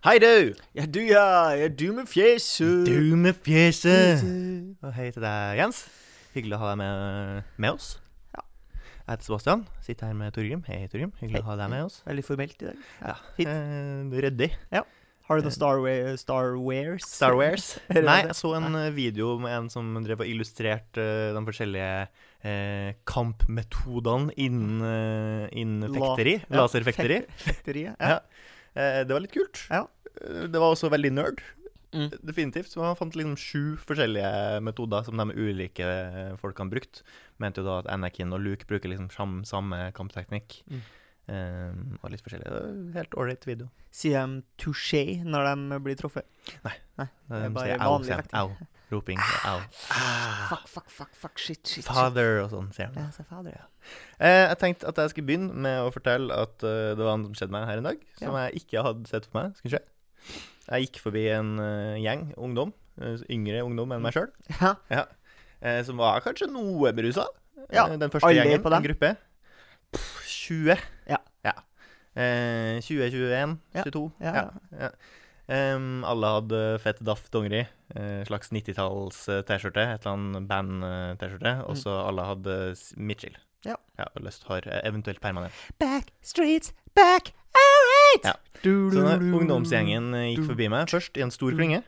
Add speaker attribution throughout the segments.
Speaker 1: Hei, du!
Speaker 2: Ja, du, ja. ja du med fjeset.
Speaker 1: Du med fjeset. Og hei til deg, Jens. Hyggelig å ha deg med, med oss.
Speaker 2: Ja.
Speaker 1: Jeg heter Sebastian. Sitter her med Torgrim. Hei, Torgrim. Hyggelig
Speaker 2: Hei.
Speaker 1: å ha deg med oss.
Speaker 2: Veldig formelt i dag.
Speaker 1: Ja.
Speaker 2: Fint.
Speaker 1: Eh, Ryddig.
Speaker 2: Har du noe Star, Wa- Star Wars?
Speaker 1: Eh. Star Wars.
Speaker 2: Er det
Speaker 1: Nei,
Speaker 2: det?
Speaker 1: jeg så en eh, video med en som drev og illustrerte eh, de forskjellige eh, kampmetodene innen, eh, innen
Speaker 2: La-
Speaker 1: fekteri.
Speaker 2: ja,
Speaker 1: Laserfekteri.
Speaker 2: Fekteri, ja.
Speaker 1: Ja. Eh, det var litt kult.
Speaker 2: Ja.
Speaker 1: Eh, Det var også veldig nerd.
Speaker 2: Mm.
Speaker 1: Definitivt. Så han fant liksom sju forskjellige metoder som de ulike eh, folkene brukte. Mente jo da at Anakin og Luke bruker liksom sam, samme kampteknikk.
Speaker 2: Mm.
Speaker 1: Eh, og litt forskjellig. Det er Helt ålreit video.
Speaker 2: Sier de touché når de blir truffet?
Speaker 1: Det
Speaker 2: er bare vanlig fekting.
Speaker 1: Au. Roping. Au. Ah.
Speaker 2: Fuck, fuck, fuck, fuck, shit, shit, shit.
Speaker 1: Father og sånn, sier han.
Speaker 2: Ja, så fader, ja.
Speaker 1: Eh, jeg tenkte at jeg skulle begynne med å fortelle at eh, det var noe som skjedde meg her en dag, som jeg ikke hadde sett for meg skulle skje. Jeg gikk forbi en eh, gjeng ungdom, eh, yngre ungdom
Speaker 2: Mm.
Speaker 1: enn meg sjøl,
Speaker 2: ja.
Speaker 1: eh, som var kanskje noe berusa. Eh,
Speaker 2: Ja,
Speaker 1: den første
Speaker 2: alder
Speaker 1: gjengen,
Speaker 2: på
Speaker 1: en
Speaker 2: dem?
Speaker 1: gruppe. Pff, 20.
Speaker 2: Ja.
Speaker 1: Eh, 20, 21,
Speaker 2: Ja,
Speaker 1: 22.
Speaker 2: ja,
Speaker 1: ja. Em, alle hadde fett daff dongeri, eh, slags 90-talls-T-skjorte, et eller annet band-T-skjorte, og så alle hadde s- midtskill.
Speaker 2: Mm. Ja.
Speaker 1: og løst hår, eh, eventuelt permanent.
Speaker 2: Back streets, back alright!
Speaker 1: Ja.
Speaker 2: Du,
Speaker 1: Så
Speaker 2: du,
Speaker 1: når
Speaker 2: du, du.
Speaker 1: ungdomsgjengen eh, gikk
Speaker 2: du- Mm.
Speaker 1: forbi meg, først i en stor klynge,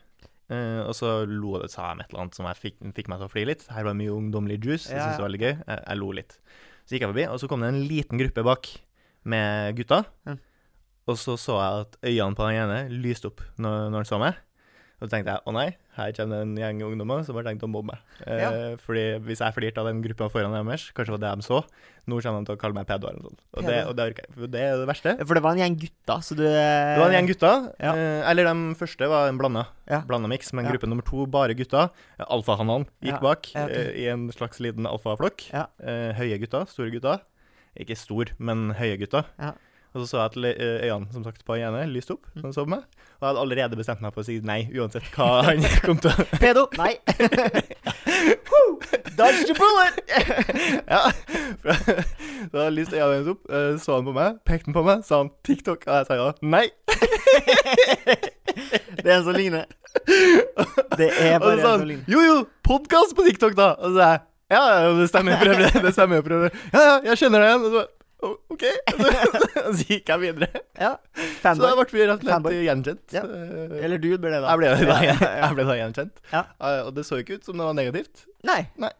Speaker 1: eh, og så lo det, sa de et eller annet som jeg fikk, fikk meg til å flire litt. Her var mye ungdommelig juice, jeg
Speaker 2: Ja, ja.
Speaker 1: syntes det var veldig gøy. Jeg, jeg lo litt. Så gikk jeg forbi, og så kom det en liten gruppe bak med gutta.
Speaker 2: Mm.
Speaker 1: Og så så jeg at øynene på den ene lyste opp når, når han så meg. Og så tenkte jeg å nei, her kommer det en gjeng ungdommer som har tenkt å mobbe meg. Eh, Fordi hvis jeg flirte av den gruppa foran deres, kanskje det var det de så, nå kommer de til å kalle meg pedo eller noe sånt. Og det,
Speaker 2: Pedo.
Speaker 1: og det orker jeg ikke. For Det er det verste.
Speaker 2: For det var en gjeng gutter, så du
Speaker 1: Det var en gjeng gutter.
Speaker 2: Ja.
Speaker 1: eh, Eller de første var en blanda,
Speaker 2: Ja.
Speaker 1: blanda miks, men
Speaker 2: Ja.
Speaker 1: gruppe nummer to bare gutter. Eh, Alfahannan
Speaker 2: Ja.
Speaker 1: gikk bak
Speaker 2: Ja, ok.
Speaker 1: eh, i en slags liten alfaflokk.
Speaker 2: Ja.
Speaker 1: Eh, Høye gutter, store gutter. Ikke stor, men høye gutter.
Speaker 2: Ja. Mm.
Speaker 1: Og så så jeg at le- eh, øynene som sagt, på Jene lyste opp, når han så på meg. Og jeg hadde allerede bestemt meg for å si nei, uansett hva han kom til å
Speaker 2: Pedo! Nei! Woo! Dodged a bullet!
Speaker 1: Ja. For, så jeg lyste øynene hennes opp, eh, så han på meg, pekte han på meg, sa han TikTok, og jeg sa ja. Nei.
Speaker 2: Det er en som ligner. Det er
Speaker 1: Og sånn.
Speaker 2: bare
Speaker 1: så
Speaker 2: en
Speaker 1: sa
Speaker 2: som
Speaker 1: han
Speaker 2: ligner.
Speaker 1: jo, jo, podkast på TikTok, da. Og så sa jeg ja, ja, det stemmer, for øvrig. Det stemmer, for øvrig. Ja, ja, jeg kjenner deg igjen. Og så «O- OK. Og så, så gikk jeg videre.
Speaker 2: Ja.
Speaker 1: Så da
Speaker 2: Fanboy.
Speaker 1: ble vi rett og slett
Speaker 2: Fanboy.
Speaker 1: gjenkjent.
Speaker 2: Ja.
Speaker 1: Eh,
Speaker 2: Eller du ble det, da.
Speaker 1: Jeg ble da,
Speaker 2: Ja, ja, ja.
Speaker 1: jeg ble da gjenkjent.
Speaker 2: Ja.
Speaker 1: Eh, Og det så ikke ut som det var negativt.
Speaker 2: Nei.
Speaker 1: Det,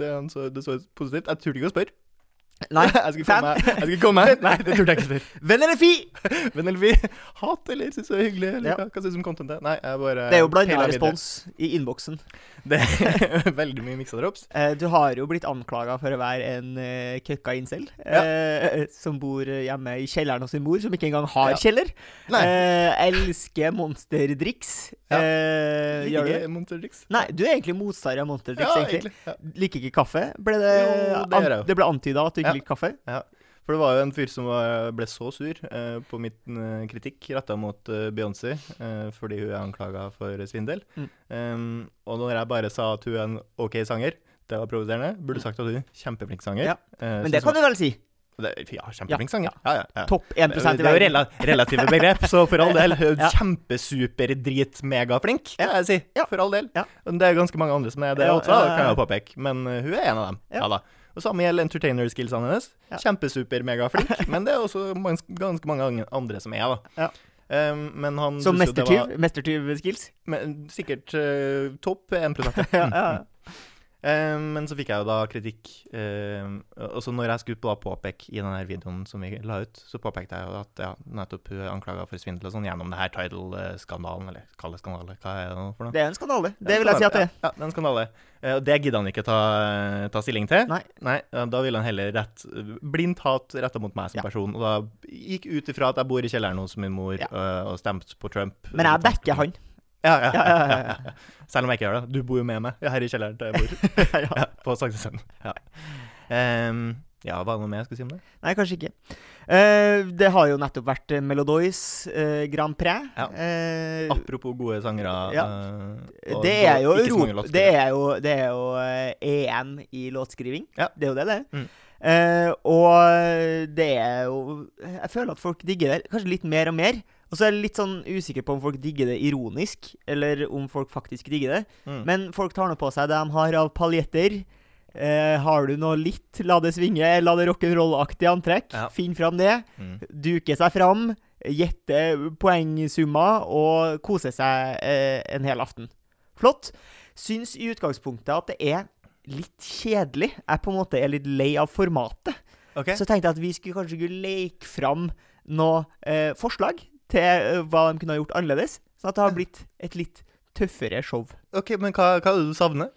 Speaker 1: det, han så, det så ut positivt. Jeg turte ikke å spørre.
Speaker 2: Nei.
Speaker 1: Jeg skulle
Speaker 2: Fan.
Speaker 1: komme meg. Jeg skulle komme meg. Nei, det turte jeg ikke å spørre.
Speaker 2: Venn eller fi?
Speaker 1: Venn eller vi, hat eller syns det er hyggelig, eller
Speaker 2: Ja.
Speaker 1: hva, hva syns du om contentet? Nei, jeg bare
Speaker 2: Det er jo blanda
Speaker 1: peilet videre.
Speaker 2: respons i innboksen.
Speaker 1: Det er veldig mye miksa drops.
Speaker 2: Eh, Du har jo blitt anklaga for å være en eh, køkka incel eh, som bor hjemme i kjelleren hos sin mor, som ikke engang har
Speaker 1: Ja.
Speaker 2: kjeller.
Speaker 1: Nei.
Speaker 2: Eh, Elsker monsterdriks.
Speaker 1: Ja.
Speaker 2: Eh, Gjør du det?
Speaker 1: Ikke Monster Dicks.
Speaker 2: Nei, du er egentlig motstander av monsterdriks, egentlig.
Speaker 1: Ja.
Speaker 2: Liker ikke kaffe. Ble det,
Speaker 1: Jo, det gjør jeg jo.
Speaker 2: an- det ble antyda at du ikke
Speaker 1: Ja.
Speaker 2: liker kaffe?
Speaker 1: For det var jo en fyr som var, ble så sur eh, på mitt eh, kritikk retta mot eh, Beyoncé eh, fordi hun er anklaga for svindel.
Speaker 2: Mm.
Speaker 1: Um, og når jeg bare sa at hun er en OK sanger, det var provoserende, burde sagt at hun er kjempeflink sanger.
Speaker 2: Mm.
Speaker 1: Eh,
Speaker 2: Ja. Men det kan du vel si?
Speaker 1: det, Ja, kjempeflink sanger. Ja, ja, ja.
Speaker 2: Topp 1 i
Speaker 1: Det er jo
Speaker 2: verden.
Speaker 1: rela relative begrep, så for all del. hun er
Speaker 2: Ja.
Speaker 1: Kjempesuper-drit-megaflink, kan jeg si.
Speaker 2: Ja.
Speaker 1: For all del.
Speaker 2: Ja.
Speaker 1: Men Det er ganske mange andre som er det
Speaker 2: Ja,
Speaker 1: også,
Speaker 2: ja,
Speaker 1: da,
Speaker 2: ja,
Speaker 1: kan
Speaker 2: ja.
Speaker 1: jeg jo påpeke. Men uh, hun er en av dem.
Speaker 2: Ja.
Speaker 1: Ja, da. Og samme gjelder entertainer-skillsene hennes.
Speaker 2: Ja.
Speaker 1: Kjempesuper-megaflink. Men det er også mans ganske mange ang- andre som er, da.
Speaker 2: Ja.
Speaker 1: Um, men han
Speaker 2: Som
Speaker 1: synes jo det var-
Speaker 2: mestertyv? Mestertyv-skills?
Speaker 1: men Sikkert uh, topp 1
Speaker 2: Ja, ja.
Speaker 1: Eh, men så fikk jeg jo da kritikk. eh, og så når jeg skulle da påpeke i den her videoen som vi la ut, så påpekte jeg jo at ja, nettopp hun er anklaga for svindel og sånn gjennom det her Tidal-skandalen, eller kall det skandale, hva er det nå for noe?
Speaker 2: Det er en skandale. Det vil jeg si at det er.
Speaker 1: Ja, ja, det er en skandale. Eh, Og det gidder han ikke ta, ta stilling til.
Speaker 2: Nei.
Speaker 1: eh, Da ville han heller rett, blindt hat retta mot meg som
Speaker 2: Ja.
Speaker 1: person. Og da gikk ut ifra at jeg bor i kjelleren hos min mor
Speaker 2: Ja.
Speaker 1: eh, og stemte på Trump.
Speaker 2: Men jeg backer han.
Speaker 1: Ja, ja,
Speaker 2: Ja,
Speaker 1: ja,
Speaker 2: ja,
Speaker 1: ja,
Speaker 2: ja,
Speaker 1: ja. Selv om jeg ikke gjør det. Du bor jo med meg. Ja, her i kjelleren der jeg bor.
Speaker 2: ja. ja.
Speaker 1: Ja, på Sankthenscenen. Ja. Ehm, ja, hva er det noe mer jeg skulle si om det?
Speaker 2: Nei, kanskje ikke. Eh, det har jo nettopp vært eh, Melodoys eh, Grand Prix.
Speaker 1: Ja.
Speaker 2: Eh,
Speaker 1: Apropos gode sangere.
Speaker 2: Ja.
Speaker 1: eh, og
Speaker 2: det, er jo
Speaker 1: ikke så mange
Speaker 2: Europ-
Speaker 1: låtskrivere.
Speaker 2: det er jo, det er jo eh, EM i låtskriving.
Speaker 1: Ja.
Speaker 2: Det er jo det det er.
Speaker 1: Mm.
Speaker 2: Eh, og det er jo Jeg føler at folk digger det kanskje litt mer og mer. Og så er jeg litt sånn usikker på om folk digger det ironisk, eller om folk faktisk digger det.
Speaker 1: Mm.
Speaker 2: Men folk tar nå på seg det de har av paljetter. Eh, har du noe litt, la det svinge, la det rock'n'roll-aktig antrekk.
Speaker 1: Ja.
Speaker 2: Finn fram det.
Speaker 1: Mm.
Speaker 2: Duke seg fram. Gjette poengsummer og kose seg eh, en hel aften. Flott. Syns i utgangspunktet at det er litt kjedelig. Jeg på en måte er litt lei av formatet.
Speaker 1: Ok.
Speaker 2: Så tenkte jeg at vi skulle kanskje skulle leke fram noen eh, forslag til eh, hva de kunne ha gjort annerledes. Sånn at det har blitt et litt tøffere show.
Speaker 1: ok, men hva, hva er det du savner?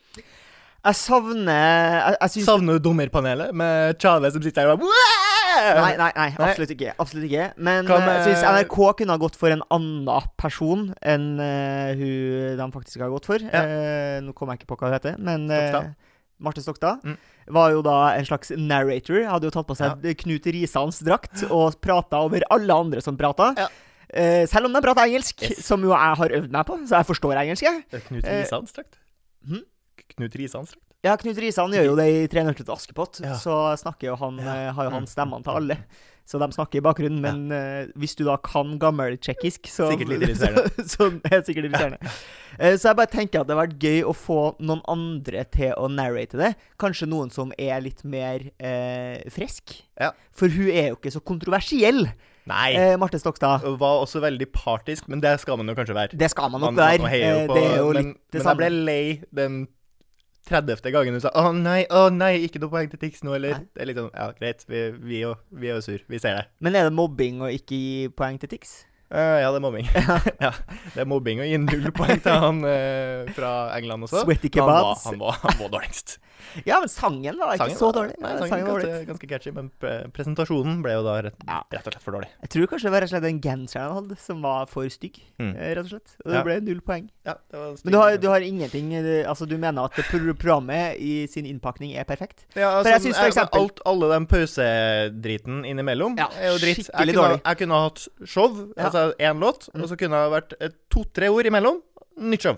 Speaker 2: Jeg savner Jeg, jeg syns
Speaker 1: Savner du dommerpanelet med Tjave som sitter her og bare
Speaker 2: Nei, nei, nei, absolutt ikke. Absolutt ikke. Men
Speaker 1: Hva med-
Speaker 2: eh, jeg syns NRK kunne ha gått for en annen person enn eh, hun de faktisk har gått for. Eh, nå kommer jeg ikke på hva hun heter, men eh,
Speaker 1: Stokstad.
Speaker 2: Marte Stokstad
Speaker 1: Mm.
Speaker 2: var jo da en slags narrator. Hadde jo tatt på seg Knut Risans drakt og prata over alle andre som prata.
Speaker 1: Ja.
Speaker 2: Eh, selv om de prata engelsk,
Speaker 1: Yes.
Speaker 2: som jo jeg har øvd meg på, så jeg forstår engelsk, jeg.
Speaker 1: Det er Knut
Speaker 2: Eh,
Speaker 1: Risans drakt?
Speaker 2: hm?
Speaker 1: Knut Risans drakt?
Speaker 2: Ja, Knut Risan gjør jo det i 'Tre nøkler til Askepott'.
Speaker 1: Ja.
Speaker 2: Så snakker jo han,
Speaker 1: Ja.
Speaker 2: eh, har jo han
Speaker 1: Mm.
Speaker 2: stemmene til alle. Så de snakker i bakgrunnen. Men eh, hvis du da kan gammeltsjekkisk, så
Speaker 1: Sikkert litt irriterende.
Speaker 2: så, så er det sikkert irriterende. Eh, så jeg bare tenker at det hadde vært gøy å få noen andre til å narrate det. Kanskje noen som er litt mer eh, frisk.
Speaker 1: Ja.
Speaker 2: For hun er jo ikke så kontroversiell,
Speaker 1: Nei.
Speaker 2: eh, Marte Stokstad.
Speaker 1: Og Var også veldig partisk, men det skal man jo kanskje være.
Speaker 2: Det skal man nok
Speaker 1: Man-
Speaker 2: være.
Speaker 1: man heier jo
Speaker 2: Eh,
Speaker 1: på-
Speaker 2: det er jo
Speaker 1: men,
Speaker 2: litt det
Speaker 1: men
Speaker 2: samme.
Speaker 1: jeg ble lei den 30. gangen du sa 'Å nei, å nei, ikke noe poeng til Tix nå', eller
Speaker 2: Nei.
Speaker 1: Det er litt sånn Ja, greit, vi, vi, er jo, vi er jo sur. Vi ser det.
Speaker 2: Men er det mobbing å ikke gi poeng til Tix?
Speaker 1: Eh, ja, det er mobbing. ja, det er mobbing å gi null poeng til han eh, fra England også.
Speaker 2: Sweaty
Speaker 1: Men han var,
Speaker 2: kebabs.
Speaker 1: han var, han var dårligst.
Speaker 2: Ja, men sangen var ikke
Speaker 1: Sangen
Speaker 2: så
Speaker 1: var-
Speaker 2: dårlig.
Speaker 1: Nei,
Speaker 2: Ja,
Speaker 1: sangen,
Speaker 2: sangen var
Speaker 1: ganske,
Speaker 2: dårlig.
Speaker 1: ganske catchy, men pre presentasjonen ble jo da rett,
Speaker 2: Ja.
Speaker 1: rett og slett for dårlig.
Speaker 2: Jeg tror kanskje det var rett og slett den genseren han hadde, som var for stygg.
Speaker 1: Mm.
Speaker 2: eh, Rett og slett. Og det
Speaker 1: Ja.
Speaker 2: ble null poeng.
Speaker 1: Ja, det var
Speaker 2: Men du har, du har ingenting eh, Altså, du mener at pro programmet i sin innpakning er perfekt?
Speaker 1: Ja, altså,
Speaker 2: For jeg synes for
Speaker 1: men
Speaker 2: eksempel-
Speaker 1: alt, Alle den pausedriten innimellom
Speaker 2: Ja,
Speaker 1: er jo dritt.
Speaker 2: skikkelig
Speaker 1: jeg kunne,
Speaker 2: dårlig.
Speaker 1: Jeg kunne ha hatt show,
Speaker 2: Ja.
Speaker 1: altså én låt, og så kunne det ha vært eh, to-tre ord imellom. Nytt show.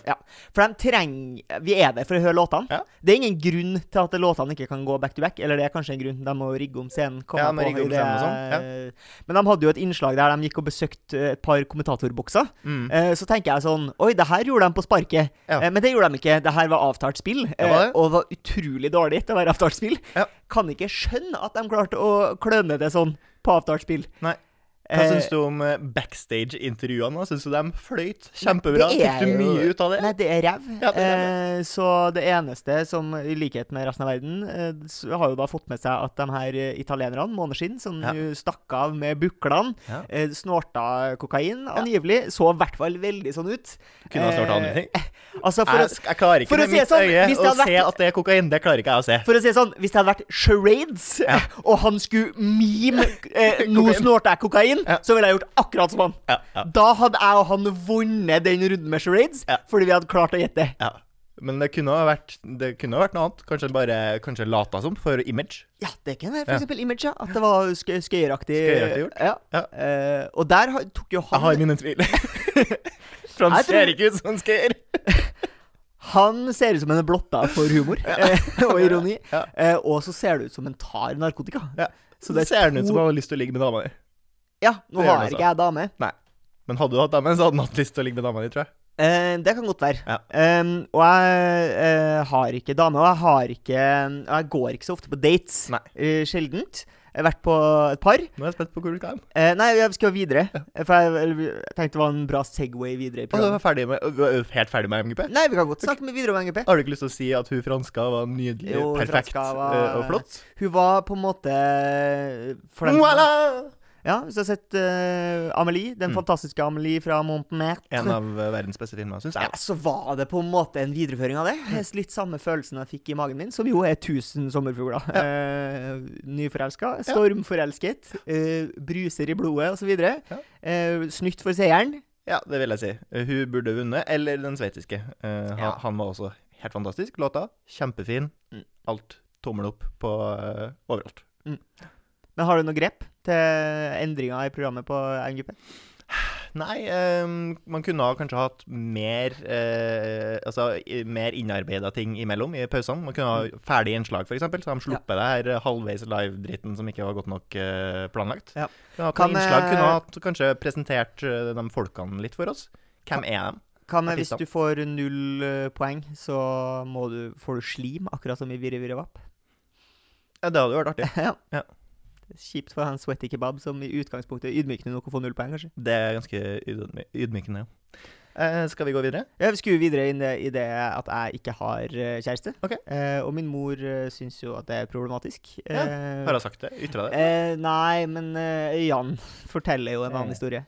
Speaker 2: For de trenger Vi er der for å høre låtene.
Speaker 1: Ja.
Speaker 2: Det er ingen grunn til at låtene ikke kan gå back to back. Eller det er kanskje en grunn. De må rigge om scenen. komme
Speaker 1: Ja, de må
Speaker 2: på
Speaker 1: rigge om
Speaker 2: i det-
Speaker 1: scenen og sånn,
Speaker 2: Men de hadde jo et innslag der de gikk og besøkte eh, et par kommentatorbokser.
Speaker 1: Mm.
Speaker 2: Eh, Så tenker jeg sånn Oi, det her gjorde de på sparket.
Speaker 1: Ja.
Speaker 2: Eh, Men det gjorde de ikke. Det her var avtalt spill, eh,
Speaker 1: var det.
Speaker 2: og det var utrolig dårlig til å være avtalt spill.
Speaker 1: Ja.
Speaker 2: Kan ikke skjønne at de klarte å kløne det sånn på avtalt spill.
Speaker 1: Nei. Hva syns du om eh, backstage-intervjuene? Syns du de fløyt kjempebra?
Speaker 2: Det er
Speaker 1: Fikk du mye
Speaker 2: jo-
Speaker 1: ut av det?
Speaker 2: Nei, det er ræv.
Speaker 1: Ja, det er ræv,
Speaker 2: eh, så det eneste som, i likhet med resten av verden, eh, s- har jo da fått med seg at de her eh, italienerne, Måneskinn, som
Speaker 1: Ja.
Speaker 2: jo stakk av med buklene,
Speaker 1: Ja.
Speaker 2: eh, snorta kokain angivelig, så i hvert fall veldig sånn ut.
Speaker 1: Kunne ha starta andre
Speaker 2: Eh,
Speaker 1: ting.
Speaker 2: Altså, for å,
Speaker 1: Jeg, jeg klarer
Speaker 2: for
Speaker 1: ikke
Speaker 2: å
Speaker 1: med
Speaker 2: si det
Speaker 1: mitt
Speaker 2: sånn,
Speaker 1: øye
Speaker 2: hvis det
Speaker 1: å
Speaker 2: hadde
Speaker 1: se
Speaker 2: vært-
Speaker 1: at det er kokain. Det klarer ikke jeg å se.
Speaker 2: For å si det sånn, hvis det hadde vært charades,
Speaker 1: Ja.
Speaker 2: og han skulle meme eh, 'Nå
Speaker 1: Kokain.
Speaker 2: snorter jeg kokain',
Speaker 1: Ja.
Speaker 2: så ville jeg gjort akkurat som han.
Speaker 1: Ja, ja,
Speaker 2: Da hadde jeg og han vunnet den runden med charades,
Speaker 1: Ja.
Speaker 2: fordi vi hadde klart å gjette.
Speaker 1: ja. Men det kunne ha vært, det kunne ha vært noe annet. Kanskje bare kanskje lata som, for image.
Speaker 2: Ja, det kan være
Speaker 1: Ja.
Speaker 2: for eksempel image, ja. At det var skø- skøyeraktig.
Speaker 1: Skøyeraktig gjort.
Speaker 2: Ja.
Speaker 1: Ja.
Speaker 2: Eh, og der har- tok jo
Speaker 1: Jeg har
Speaker 2: han
Speaker 1: mine tvil. For han
Speaker 2: Jeg tror-
Speaker 1: ser ikke ut som han skal gjøre.
Speaker 2: Han ser ut som en blotta for humor eh, og ironi.
Speaker 1: Ja.
Speaker 2: Eh, og så ser det ut som han tar narkotika.
Speaker 1: Ja.
Speaker 2: Så
Speaker 1: Så
Speaker 2: det
Speaker 1: det
Speaker 2: er
Speaker 1: ser han ut
Speaker 2: to-
Speaker 1: som han har lyst til å ligge med dama di.
Speaker 2: Ja, nå
Speaker 1: Det gjør altså.
Speaker 2: har
Speaker 1: det
Speaker 2: ikke jeg dame.
Speaker 1: Nei. Men hadde du hatt dame, så hadde han hatt lyst til å ligge med dama di, tror jeg.
Speaker 2: Eh, det kan godt være.
Speaker 1: Ja.
Speaker 2: Ehm, og jeg eh, har ikke dame, og jeg har ikke Og jeg går ikke så ofte på dates.
Speaker 1: Nei.
Speaker 2: Eh, sjeldent. Jeg har vært på et par.
Speaker 1: Nå er jeg spent på hvor du skal hen.
Speaker 2: Eh, nei, jeg skal videre. Eh, For jeg, eller, jeg tenkte det var en bra Segway videre. i
Speaker 1: Og du
Speaker 2: programmet.
Speaker 1: er ferdig med, du er helt ferdig med MGP.
Speaker 2: Nei, vi kan godt snakke med videre om MGP.
Speaker 1: Har du ikke lyst til å si at hun franska var nydelig,
Speaker 2: Jo, hun
Speaker 1: perfekt
Speaker 2: franska var-
Speaker 1: eh, og flott?
Speaker 2: Hun var på en måte eh, for dem-
Speaker 1: Voilà!
Speaker 2: Ja, Hvis du har sett eh, Amelie, den
Speaker 1: Mm.
Speaker 2: fantastiske Amelie fra Montmartre,
Speaker 1: En av eh, verdens beste filmer, syns
Speaker 2: ja, Mm.
Speaker 1: jeg.
Speaker 2: så var det på en måte en videreføring av det. Litt samme følelsen jeg fikk i magen min, som jo er 1000 sommerfugler. Eh, nyforelska, stormforelsket, eh, bruser i blodet osv.
Speaker 1: Ja.
Speaker 2: Eh, snytt for seieren.
Speaker 1: Ja, det vil jeg si. Eh, Hun burde vunnet, eller den sveitsiske. Eh, han,
Speaker 2: Ja.
Speaker 1: han var også helt fantastisk. Låta kjempefin.
Speaker 2: Mm.
Speaker 1: Alt tommel opp på eh, overalt.
Speaker 2: Men har du noe grep til endringer i programmet på MGP?
Speaker 1: Nei, ehm, man kunne ha kanskje hatt mer eh, altså, i- mer innarbeida ting imellom i pausene. Man kunne ha
Speaker 2: Mm.
Speaker 1: ferdig innslag, f.eks., så de sluppet det her eh, halvveis live-dritten som ikke var godt nok eh, planlagt.
Speaker 2: Ja.
Speaker 1: Kunne hatt
Speaker 2: Kan,
Speaker 1: noen innslag,
Speaker 2: eh,
Speaker 1: kunne ha hatt, kanskje presentert eh, de folkene litt for oss. Hvem er de?
Speaker 2: Hva med hvis
Speaker 1: Artistene.
Speaker 2: du får null eh, poeng, så må du, får du slim, akkurat som i Virre Virre Vapp?
Speaker 1: Ja, det hadde jo vært artig.
Speaker 2: ja.
Speaker 1: Ja.
Speaker 2: Det er Kjipt for han sweaty kebab, som i utgangspunktet er ydmykende nok å få null poeng, kanskje.
Speaker 1: Det er ganske ydmy- ydmykende, ja. Eh, skal vi gå videre?
Speaker 2: Ja, Vi skulle videre inn i det at jeg ikke har eh, kjæreste.
Speaker 1: Ok.
Speaker 2: Eh, og min mor uh, syns jo at det er problematisk.
Speaker 1: Ja,
Speaker 2: Eh,
Speaker 1: Har jeg sagt det? Ytra det?
Speaker 2: Eh, nei, men eh, Jan forteller jo en annen
Speaker 1: Eh.
Speaker 2: historie.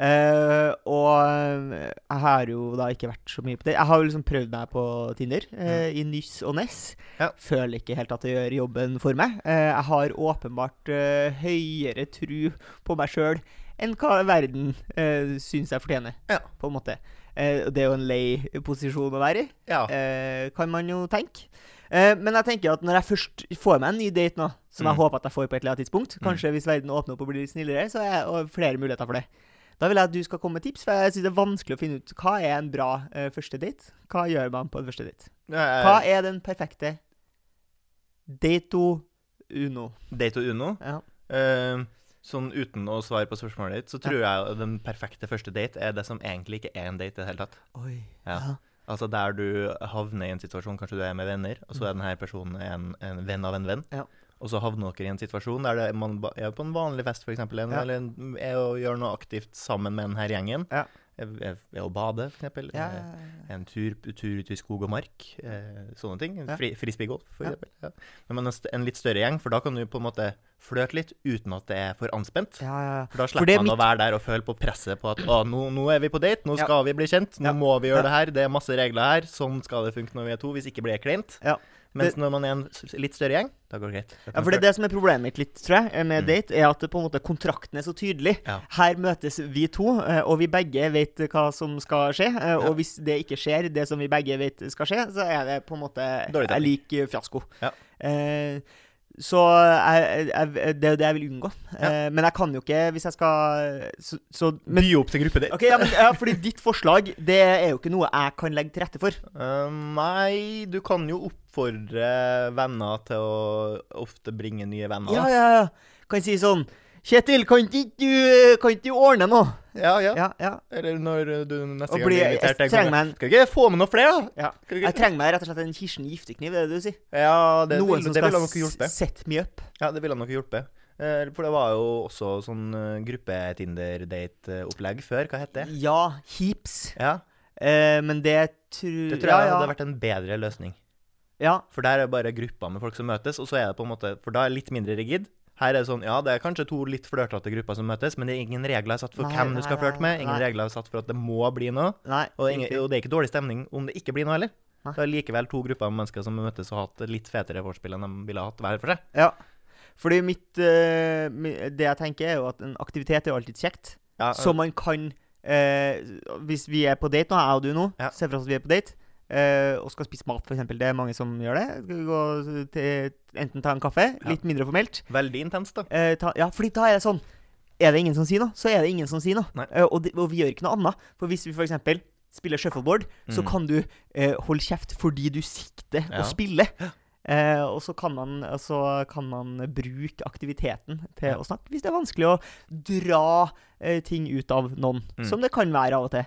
Speaker 2: Eh, og eh, jeg har jo da ikke vært så mye på det. Jeg har jo liksom prøvd meg på Tinder, eh, i nyss og ness.
Speaker 1: Mm. Ja.
Speaker 2: Føler ikke helt at det gjør jobben for meg. Eh, jeg har åpenbart eh, høyere tru på meg sjøl enn hva verden uh, syns jeg fortjener,
Speaker 1: Ja.
Speaker 2: på en måte. Eh, og det er jo en lei posisjon å være i
Speaker 1: Ja.
Speaker 2: eh, kan man jo tenke. Eh, men jeg tenker at når jeg først får meg en ny date nå, som jeg
Speaker 1: Mm.
Speaker 2: håper at jeg får på et eller annet tidspunkt, kanskje hvis verden åpner opp og blir litt snillere, så er det flere muligheter for det. Da vil jeg at du skal komme med tips, for jeg synes det er vanskelig å finne ut hva er en bra eh, første date. Hva gjør man på en første date? Hva
Speaker 1: Eh,
Speaker 2: er den perfekte dato uno?
Speaker 1: Date og Uno.
Speaker 2: Ja.
Speaker 1: Eh, sånn uten å svare på spørsmålet ditt, så tror jeg at den perfekte første date er det som egentlig ikke er en date i det hele tatt.
Speaker 2: Oi.
Speaker 1: Ja. Altså der du havner i en situasjon, kanskje du er med venner, og så er denne personen en, en venn av en venn.
Speaker 2: Mm. Ja.
Speaker 1: Og så havner dere i en situasjon der det, man ba- er på en vanlig fest, f.eks.,
Speaker 2: Ja.
Speaker 1: eller en- er å gjøre noe aktivt sammen med denne gjengen.
Speaker 2: Ja.
Speaker 1: Er, er, er å bade, Eh, f.eks.
Speaker 2: Ja.
Speaker 1: En tur, tur ut i skog og mark, eh, sånne ting.
Speaker 2: Ja.
Speaker 1: Fri, Frisbeegolf, for
Speaker 2: Ja.
Speaker 1: eksempel. Ja. Men man er st- en litt større gjeng, for da kan du på en måte flørte litt uten at det er for anspent.
Speaker 2: Ja, ja, ja.
Speaker 1: For da
Speaker 2: det
Speaker 1: slipper
Speaker 2: er
Speaker 1: man
Speaker 2: mitt-
Speaker 1: å være der og føle på presset på at å, nå, nå er vi på date, nå
Speaker 2: Ja.
Speaker 1: skal vi bli kjent, nå
Speaker 2: Ja.
Speaker 1: må vi
Speaker 2: Ja.
Speaker 1: gjøre det her, det er masse regler her, sånn skal det funke når vi er to, hvis ikke blir det kleint.
Speaker 2: Ja.
Speaker 1: Mens når man er en s- litt større gjeng, da går det greit. Da
Speaker 2: Ja,
Speaker 1: kan man
Speaker 2: for det er
Speaker 1: flørte.
Speaker 2: det som er problemet mitt litt, tror jeg, med
Speaker 1: Mm.
Speaker 2: date, er at det på en måte kontrakten er så tydelig.
Speaker 1: Ja.
Speaker 2: Her møtes vi to, eh, og vi begge vet hva som skal skje. eh,
Speaker 1: Ja.
Speaker 2: Og hvis det ikke skjer, det som vi begge vet skal skje, så er det på en måte Jeg
Speaker 1: Dårlig timing.
Speaker 2: liker fiasko.
Speaker 1: Ja.
Speaker 2: Eh, så jeg, jeg, det er jo det jeg vil unngå.
Speaker 1: Ja.
Speaker 2: Eh, men jeg kan jo ikke, hvis jeg skal Så, så men,
Speaker 1: By opp til gruppedate.
Speaker 2: OK, ja, men, ja, fordi ditt forslag, det er jo ikke noe jeg kan legge til rette for.
Speaker 1: Eh, nei, du kan jo oppfordre venner til å ofte bringe nye venner.
Speaker 2: Ja,
Speaker 1: da.
Speaker 2: ja, ja. Kan si sånn Kjetil, kan ikke du, kan ikke du ordne noe?
Speaker 1: ja, ja.
Speaker 2: Ja, ja.
Speaker 1: Eller når du neste
Speaker 2: Og
Speaker 1: gang
Speaker 2: bli-
Speaker 1: blir invitert.
Speaker 2: jeg
Speaker 1: tenker
Speaker 2: trenger
Speaker 1: du,
Speaker 2: meg en-
Speaker 1: Skal ikke få med noen flere, da?
Speaker 2: Ja.
Speaker 1: Skal
Speaker 2: Jeg
Speaker 1: ikke,
Speaker 2: trenger meg rett og slett en Kirsten Giftekniv, det er det du sier.
Speaker 1: ja, det
Speaker 2: Noen
Speaker 1: ville
Speaker 2: som
Speaker 1: det ville nok
Speaker 2: skal
Speaker 1: hjulpet.
Speaker 2: s- set me up.
Speaker 1: Ja, det ville nok hjulpet. Eh, For det var jo også sånn eh, gruppe-Tinder-date-opplegg før. Hva het det?
Speaker 2: Ja, heaps.
Speaker 1: Ja,
Speaker 2: Eh, men det tror
Speaker 1: Det tror jeg
Speaker 2: ja, ja.
Speaker 1: hadde vært en bedre løsning.
Speaker 2: ja.
Speaker 1: For der er det bare grupper med folk som møtes, og så er det på en måte For da er det litt mindre rigid. Her er det sånn, ja, det er kanskje to litt flørtete grupper som møtes, men det er ingen regler satt for
Speaker 2: Nei,
Speaker 1: hvem
Speaker 2: nei,
Speaker 1: du skal
Speaker 2: nei,
Speaker 1: flørte med, ingen
Speaker 2: nei.
Speaker 1: regler satt for at det må bli noe,
Speaker 2: Nei.
Speaker 1: og, ingen,
Speaker 2: riktig.
Speaker 1: og det er ikke dårlig stemning om det ikke blir noe heller.
Speaker 2: Nei.
Speaker 1: Det er likevel to grupper med mennesker som møtes og har hatt litt fetere vorspiel enn de ville hatt hver for seg.
Speaker 2: Ja. Fordi mitt eh, mi- Det jeg tenker, er jo at en aktivitet er jo alltid kjekt.
Speaker 1: Ja,
Speaker 2: Så man kan eh, Hvis vi er på date nå, jeg og du nå,
Speaker 1: Ja.
Speaker 2: se for oss at vi er på date eh, og skal spise mat, f.eks. Det er mange som gjør det. Gå til, enten ta en kaffe,
Speaker 1: Ja.
Speaker 2: litt mindre formelt,
Speaker 1: Veldig intenst, da.
Speaker 2: Eh, ta, ja, fordi da er det sånn Er det ingen som sier noe, så er det ingen som sier noe.
Speaker 1: Nei.
Speaker 2: Eh, og, det- og vi gjør ikke noe annet. For hvis vi f.eks. spiller shuffleboard, så
Speaker 1: Mm.
Speaker 2: kan du eh, holde kjeft fordi du sikter
Speaker 1: Ja.
Speaker 2: og spiller. Eh, og så kan, man, og så kan man bruke aktiviteten til
Speaker 1: Ja.
Speaker 2: å snakke, hvis det er vanskelig å dra eh, ting ut av noen.
Speaker 1: Mm.
Speaker 2: Som det kan være av og til.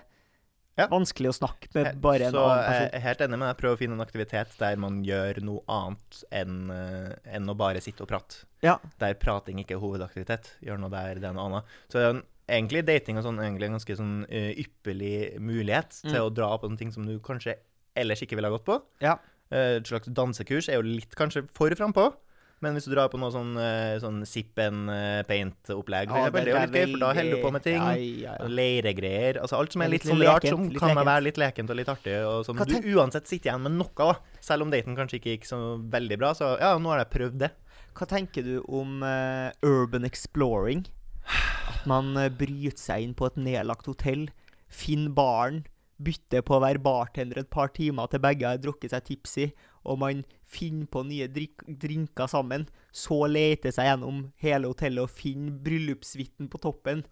Speaker 1: Ja.
Speaker 2: Vanskelig å snakke med
Speaker 1: Eh,
Speaker 2: bare en
Speaker 1: så
Speaker 2: annen
Speaker 1: jeg
Speaker 2: person.
Speaker 1: er helt enig med deg. Prøv å finne en aktivitet der man gjør noe annet enn, eh, enn å bare sitte og prate.
Speaker 2: Ja.
Speaker 1: Der prating ikke er hovedaktivitet. Gjør noe der, det er noe annet. Så det er en, egentlig dating og sånn, egentlig en ganske sånn eh, ypperlig mulighet
Speaker 2: Mm.
Speaker 1: til å dra på en ting som du kanskje ellers ikke ville ha gått på.
Speaker 2: Ja.
Speaker 1: Eh, Et slags dansekurs er jo litt kanskje for frampå. Men hvis du drar på noe sånn, eh, sånn zip and eh, paint-opplegg, for
Speaker 2: Ja,
Speaker 1: eksempel, det er jo litt gøy, for da holder du på med ting.
Speaker 2: Ja, ja, ja.
Speaker 1: Leiregreier. Altså alt som er
Speaker 2: Ja,
Speaker 1: litt,
Speaker 2: litt
Speaker 1: sånn rart,
Speaker 2: lekent,
Speaker 1: som
Speaker 2: litt
Speaker 1: kan
Speaker 2: lekent.
Speaker 1: være litt lekent og litt artig, og som
Speaker 2: Hva
Speaker 1: du uansett sitter igjen med noe av. Selv om daten kanskje ikke gikk så veldig bra, så ja, nå har jeg prøvd det.
Speaker 2: Hva tenker du om eh, urban exploring? At man eh, bryter seg inn på et nedlagt hotell, finner baren, bytter på å være bartender et par timer til begge har drukket seg tipsy, og man finner på nye drikk- drinker sammen, så leter seg gjennom hele hotellet og finner bryllupssuiten på toppen.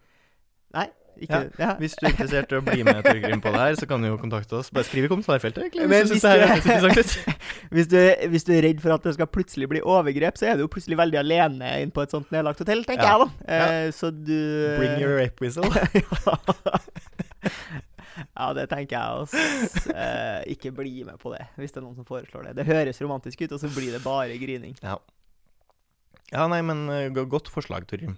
Speaker 2: Nei, Ikke, ja.
Speaker 1: Hvis du er interessert i å bli med Torgrim på det her, så kan du jo kontakte oss. Bare skriv i kommentarfeltet, egentlig.
Speaker 2: Men hvis
Speaker 1: Hvis du synes det her
Speaker 2: du-
Speaker 1: høres interessant ut.
Speaker 2: Hvis, du, hvis du er redd for at det skal plutselig bli overgrep, så er du jo plutselig veldig alene inn på et sånt nedlagt hotell, tenker
Speaker 1: Ja.
Speaker 2: jeg, da. Eh, Så du
Speaker 1: Bring your rape whistle.
Speaker 2: Ja, det tenker jeg også. Eh, ikke bli med på det, hvis det er noen som foreslår det. Det høres romantisk ut, og så blir det bare grining.
Speaker 1: Ja, nei, men eh, go- godt forslag, Torgrim.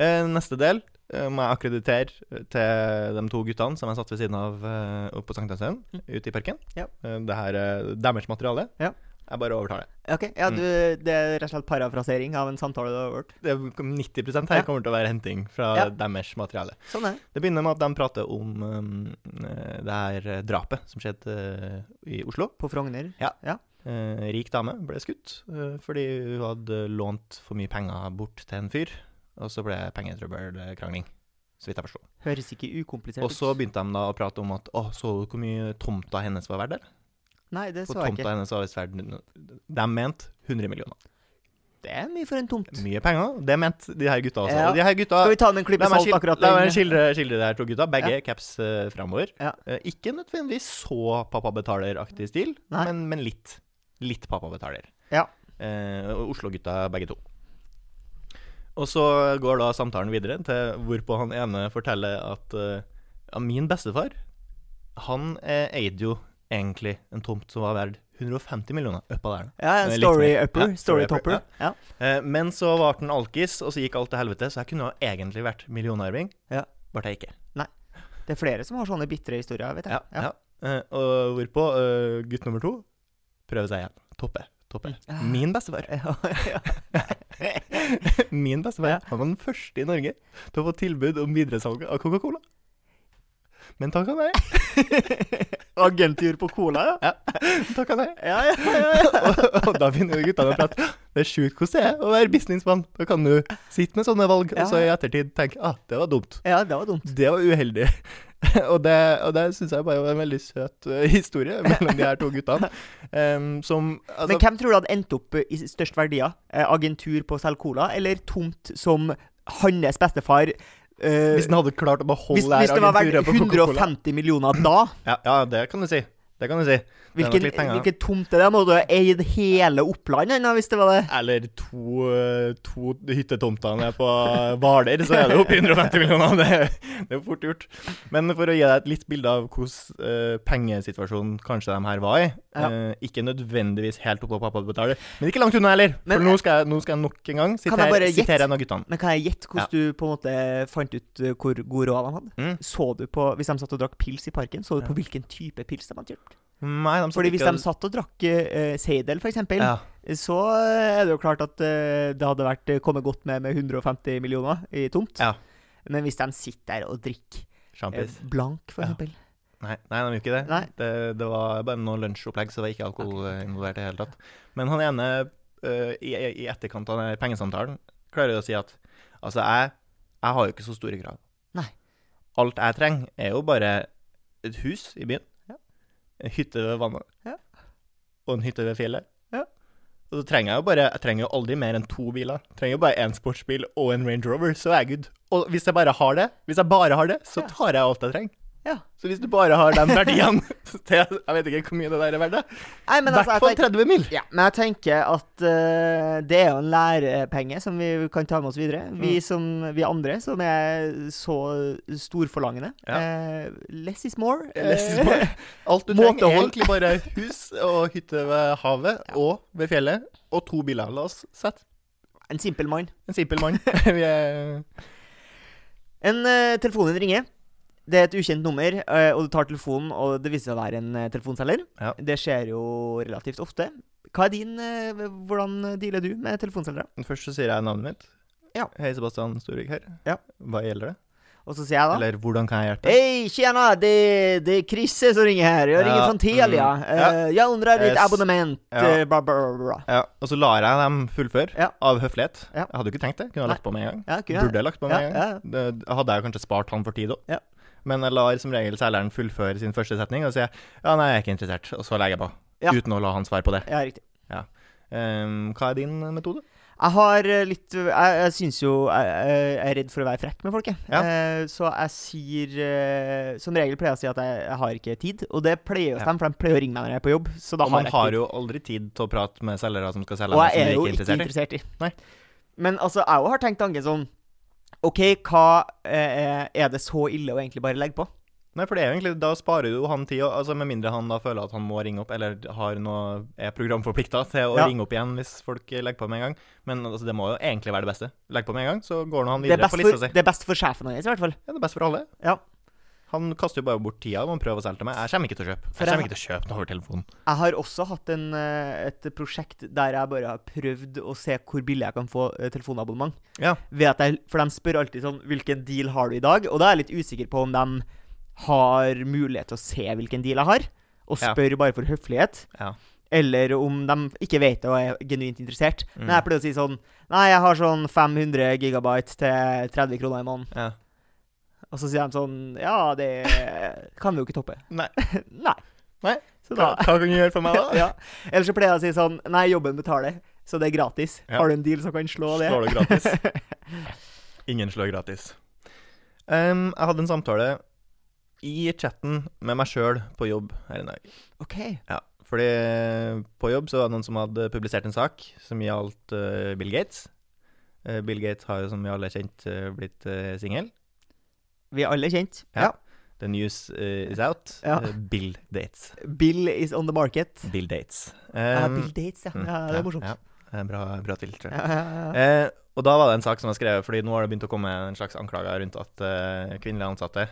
Speaker 1: Eh, neste del eh, må jeg akkreditere eh, til de to guttene som jeg satt ved siden av eh, oppe på Sankthanshaugen, ute i parken.
Speaker 2: Ja.
Speaker 1: Eh, det her er deres materiale.
Speaker 2: Ja.
Speaker 1: Jeg bare overtar det.
Speaker 2: Ok, ja, du, Det er rett og slett parafrasering av en samtale du har hørt.
Speaker 1: det er 90 her
Speaker 2: Ja.
Speaker 1: kommer til å være henting fra
Speaker 2: Ja.
Speaker 1: deres materiale.
Speaker 2: Sånn er det.
Speaker 1: Det begynner med at de prater om um, eh, det her eh, drapet som skjedde eh, i Oslo.
Speaker 2: På Frogner.
Speaker 1: Eh, rik dame ble skutt eh, fordi hun hadde lånt for mye penger bort til en fyr. Og så ble det pengetrøbbel, eh, krangling, så vidt jeg forsto.
Speaker 2: Høres ikke ukomplisert
Speaker 1: Og
Speaker 2: ut.
Speaker 1: så begynte de da å prate om at å, så du hvor mye tomta hennes var verdt? der?
Speaker 2: Nei, det
Speaker 1: For
Speaker 2: så jeg
Speaker 1: tomta
Speaker 2: ikke.
Speaker 1: hennes var visst verdt De mente 100 millioner.
Speaker 2: Det er mye for en tomt.
Speaker 1: Mye penger. Det mente de her gutta også.
Speaker 2: Ja.
Speaker 1: Og de her gutta
Speaker 2: Skal vi ta den klippet
Speaker 1: La meg,
Speaker 2: salt
Speaker 1: skil,
Speaker 2: akkurat
Speaker 1: la meg
Speaker 2: den?
Speaker 1: skildre, skildre det her to gutta. Begge
Speaker 2: Ja.
Speaker 1: caps uh, framover.
Speaker 2: Ja.
Speaker 1: Eh, ikke nødvendigvis så pappa betaler-aktig stil,
Speaker 2: Nei.
Speaker 1: men, men litt. Litt pappa betaler.
Speaker 2: Ja.
Speaker 1: Eh, og Oslo-gutta begge to. Og så går da samtalen videre til hvorpå han ene forteller at eh, ja, min bestefar, han eh, eide jo egentlig en tomt som var verdt 150 millioner uppa der. da.
Speaker 2: Ja, en
Speaker 1: Litt
Speaker 2: story
Speaker 1: mer.
Speaker 2: upper.
Speaker 1: Ja, story
Speaker 2: story
Speaker 1: upper,
Speaker 2: topper. Ja.
Speaker 1: Eh, men så ble han alkis, og så gikk alt til helvete, så jeg kunne jo egentlig vært millionarving.
Speaker 2: Ja.
Speaker 1: Ble jeg ikke.
Speaker 2: Det er flere som har sånne bitre historier, vet jeg.
Speaker 1: Ja, ja. Eh, og hvorpå eh, gutt nummer to prøver seg igjen. Toppe. Toppe.
Speaker 2: Mm.
Speaker 1: Min bestefar.
Speaker 2: Ja.
Speaker 1: Min bestefar. Han var den første i Norge til å få tilbud om videresalg av Coca-Cola. Men takk og nei.
Speaker 2: Agentur på cola, ja.
Speaker 1: Takk og nei.
Speaker 2: Ja, ja, ja, ja.
Speaker 1: Og, og da begynner jo guttene å prate. Det er sjukt hvordan det er å være businessmann. Da kan du sitte med sånne valg, og så i ettertid tenke ah, det var dumt.
Speaker 2: ja, det var dumt.
Speaker 1: Det var uheldig. og det, og det syns jeg bare var en veldig søt eh, historie mellom de her to guttene. Em, som altså,
Speaker 2: Men hvem tror du hadde endt opp i størst verdier? Eh, Agentur på å selge cola, eller tomt som hans bestefar? eh,
Speaker 1: Hvis den hadde klart å beholde
Speaker 2: hvis, hvis det var verdt
Speaker 1: agenturet på Coca-Cola.
Speaker 2: 150 millioner da,
Speaker 1: Ja, ja, det kan du si. Det kan du si. Det er nok
Speaker 2: hvilken,
Speaker 1: litt penger.
Speaker 2: hvilken tomt er det? Må du ha eid hele Oppland ennå, hvis det var det?
Speaker 1: Eller to, eh, to hyttetomter nede på eh, Hvaler, så er det oppe i 150 millioner. Det, er- det er fort gjort. Men for å gi deg et litt bilde av hvordan eh, pengesituasjonen kanskje de her var i
Speaker 2: Ja.
Speaker 1: eh, Ikke nødvendigvis helt oppå pappa betaler, men ikke langt unna heller.
Speaker 2: Men-
Speaker 1: for nå skal, jeg, nå skal jeg nok en gang
Speaker 2: jeg bare
Speaker 1: sitere,
Speaker 2: gjette?
Speaker 1: sitere en av guttene.
Speaker 2: Men kan jeg gjette hvordan du på en måte fant ut eh, hvor god råd han hadde?
Speaker 1: Mm.
Speaker 2: Så du på, Hvis de satt og drakk pils i parken, så du på hvilken type pils de hadde gjort?
Speaker 1: Nei, de satt
Speaker 2: Fordi
Speaker 1: ikke
Speaker 2: hvis
Speaker 1: og-
Speaker 2: de satt og drakk eh, Seidel, f.eks., eksempel
Speaker 1: ja.
Speaker 2: så eh, er det jo klart at eh, det hadde vært eh, kommet godt med med 150 millioner i tomt.
Speaker 1: Ja.
Speaker 2: Men hvis de sitter der og drikker eh,
Speaker 1: Sjampis.
Speaker 2: blank,
Speaker 1: Ja.
Speaker 2: f.eks. eksempel
Speaker 1: Nei, nei, de gjorde ikke det.
Speaker 2: Nei.
Speaker 1: det. Det var bare noe lunsjopplegg, så det var ikke alkohol eh, involvert i det hele tatt. Men han ene, eh, i, i etterkant av den pengesamtalen, klarer å si at altså, jeg, jeg har jo ikke så store krav.
Speaker 2: Nei.
Speaker 1: Alt jeg trenger, er jo bare et hus i byen,
Speaker 2: Ja.
Speaker 1: en hytte ved vannet,
Speaker 2: Ja.
Speaker 1: og en hytte ved fjellet.
Speaker 2: Ja.
Speaker 1: Og så trenger jeg jo bare, jeg trenger jo aldri mer enn to biler. Jeg trenger jo bare én sportsbil og en Range Rover, så er jeg good. Og hvis jeg bare har det, hvis jeg bare har det, så
Speaker 2: Ja.
Speaker 1: tar jeg alt jeg trenger.
Speaker 2: Ja.
Speaker 1: Så hvis du bare har den verdien til Jeg vet ikke hvor mye det der er verdt.
Speaker 2: Nei,
Speaker 1: I
Speaker 2: men
Speaker 1: hvert
Speaker 2: altså,
Speaker 1: fall
Speaker 2: jeg tenker,
Speaker 1: 30 mil.
Speaker 2: ja, men jeg tenker at eh, det er jo en lærepenge som vi kan ta med oss videre.
Speaker 1: Mm.
Speaker 2: Vi, som, vi andre som er så storforlangende.
Speaker 1: Ja.
Speaker 2: eh, less is more.
Speaker 1: Less is
Speaker 2: eh,
Speaker 1: more. Alt du
Speaker 2: Måtehold.
Speaker 1: trenger, er egentlig bare hus og hytte ved havet og ved fjellet. Og to biler. La oss sette
Speaker 2: en simpel mann.
Speaker 1: en simpel mann. Vi er
Speaker 2: En uh, telefonen ringer. Det er et ukjent nummer, eh, og du tar telefonen, og det viser seg å være en eh, telefonselger.
Speaker 1: Ja.
Speaker 2: Det skjer jo relativt ofte. Hva er din eh, Hvordan dealer du med telefonselgere?
Speaker 1: Først så sier jeg navnet mitt.
Speaker 2: Ja.
Speaker 1: Hei, Sebastian Storvik her.
Speaker 2: Ja.
Speaker 1: Hva gjelder det?
Speaker 2: Og så sier jeg da
Speaker 1: Eller hvordan kan jeg hjelpe? deg?
Speaker 2: Hei, tjena! Det, det er Chrisse som ringer her. Jeg ringer
Speaker 1: Ja,
Speaker 2: fra Telia.
Speaker 1: mm,
Speaker 2: Eh,
Speaker 1: ja.
Speaker 2: Jeg undrer ditt
Speaker 1: Yes.
Speaker 2: abonnement.
Speaker 1: Ja.
Speaker 2: eh, Bla, bla, bla, bla.
Speaker 1: Ja, og så lar jeg dem fullføre
Speaker 2: Ja.
Speaker 1: av høflighet.
Speaker 2: Ja.
Speaker 1: Jeg hadde jo ikke tenkt det. Kunne ha lagt på med en gang.
Speaker 2: Ja, kunne jeg-
Speaker 1: Burde jeg lagt på med
Speaker 2: Ja,
Speaker 1: en gang. Det hadde jeg kanskje spart han for tid òg.
Speaker 2: Ja.
Speaker 1: Men jeg lar som regel selgeren fullføre sin første setning, og så sier jeg ja, nei, jeg er ikke interessert, og så legger jeg på.
Speaker 2: Ja.
Speaker 1: Uten å la han svare på det.
Speaker 2: Ja, riktig.
Speaker 1: Ehm, hva er din metode?
Speaker 2: Jeg har eh, litt Jeg, jeg syns jo jeg, jeg er redd for å være frekk med folk, jeg.
Speaker 1: Ja.
Speaker 2: Eh, Så jeg sier eh, Som regel pleier jeg å si at jeg, jeg har ikke tid, og det pleier jo å
Speaker 1: Ja.
Speaker 2: stemme, for de pleier å ringe meg når jeg er på jobb. Så da
Speaker 1: Og
Speaker 2: har
Speaker 1: man
Speaker 2: jeg ikke
Speaker 1: har jo aldri tid til å prate med selgere som skal selge
Speaker 2: Og jeg
Speaker 1: deg, som
Speaker 2: er
Speaker 1: du
Speaker 2: jo
Speaker 1: ikke er
Speaker 2: ikke
Speaker 1: interessert
Speaker 2: interessert
Speaker 1: i.
Speaker 2: i.
Speaker 1: Nei.
Speaker 2: Men altså, jeg òg har tenkt tanken sånn OK, hva eh, er det så ille å egentlig bare legge på?
Speaker 1: Nei, for det er jo egentlig, da sparer du jo han tid, og- altså med mindre han da føler at han må ringe opp, eller har noe, er programforplikta til å
Speaker 2: Ja.
Speaker 1: ringe opp igjen hvis folk legger på med en gang. Men altså, det må jo egentlig være det beste. Legg på med en gang, så går nå han
Speaker 2: Det er,
Speaker 1: videre
Speaker 2: best
Speaker 1: på
Speaker 2: for,
Speaker 1: lista si.
Speaker 2: det er best for sjefen hans, i hvert fall.
Speaker 1: Ja, det er best for alle.
Speaker 2: Ja.
Speaker 1: Han kaster jo bare bort tida om han prøver å selge til meg. Jeg kommer ikke til å kjøpe.
Speaker 2: For
Speaker 1: Jeg
Speaker 2: jeg-
Speaker 1: kommer ikke til å kjøpe noe over telefonen.
Speaker 2: Jeg har også hatt en, eh, et prosjekt der jeg bare har prøvd å se hvor billig jeg kan få eh, telefonabonnement.
Speaker 1: Ja.
Speaker 2: Ved at jeg, for de spør alltid sånn Hvilken deal har du i dag? Og da er jeg litt usikker på om de har mulighet til å se hvilken deal jeg har, og
Speaker 1: Ja.
Speaker 2: spør bare for høflighet.
Speaker 1: Ja.
Speaker 2: Eller om de ikke vet det og er genuint interessert.
Speaker 1: Mm.
Speaker 2: Men jeg pleier å si sånn Nei, jeg har sånn 500 gigabyte til 30 kroner i måneden.
Speaker 1: Ja.
Speaker 2: Og så sier de sånn Ja, det kan vi jo ikke toppe.
Speaker 1: Nei.
Speaker 2: Nei.
Speaker 1: Nei.
Speaker 2: Så da
Speaker 1: Hva, hva kan du gjøre for meg da?
Speaker 2: ja. Eller så pleier jeg å si sånn Nei, jobben betaler, så det er gratis.
Speaker 1: Ja.
Speaker 2: Har du en deal som kan slå det?
Speaker 1: Slår det gratis. Ingen slår gratis. Ehm, jeg hadde en samtale i chatten med meg sjøl på jobb her i dag.
Speaker 2: OK.
Speaker 1: Ja, fordi på jobb så var det noen som hadde publisert en sak som gjaldt eh, Bill Gates. Eh, Bill Gates har jo, som vi alle er kjent, eh, blitt uh, singel.
Speaker 2: Vi er alle kjent.
Speaker 1: Ja. The news eh, is out.
Speaker 2: Ja.
Speaker 1: Eh, Bill Dates.
Speaker 2: Bill is on the market.
Speaker 1: Bill Dates.
Speaker 2: ja,
Speaker 1: Um,
Speaker 2: Bill Dates, ja. ja. Det er morsomt.
Speaker 1: Ja,
Speaker 2: Ja,
Speaker 1: Det er bra, bra til, tror jeg.
Speaker 2: ja, ja, ja.
Speaker 1: Eh, og da var det en sak som jeg skrev, fordi nå har det begynt å komme en slags anklager rundt at eh, kvinnelige ansatte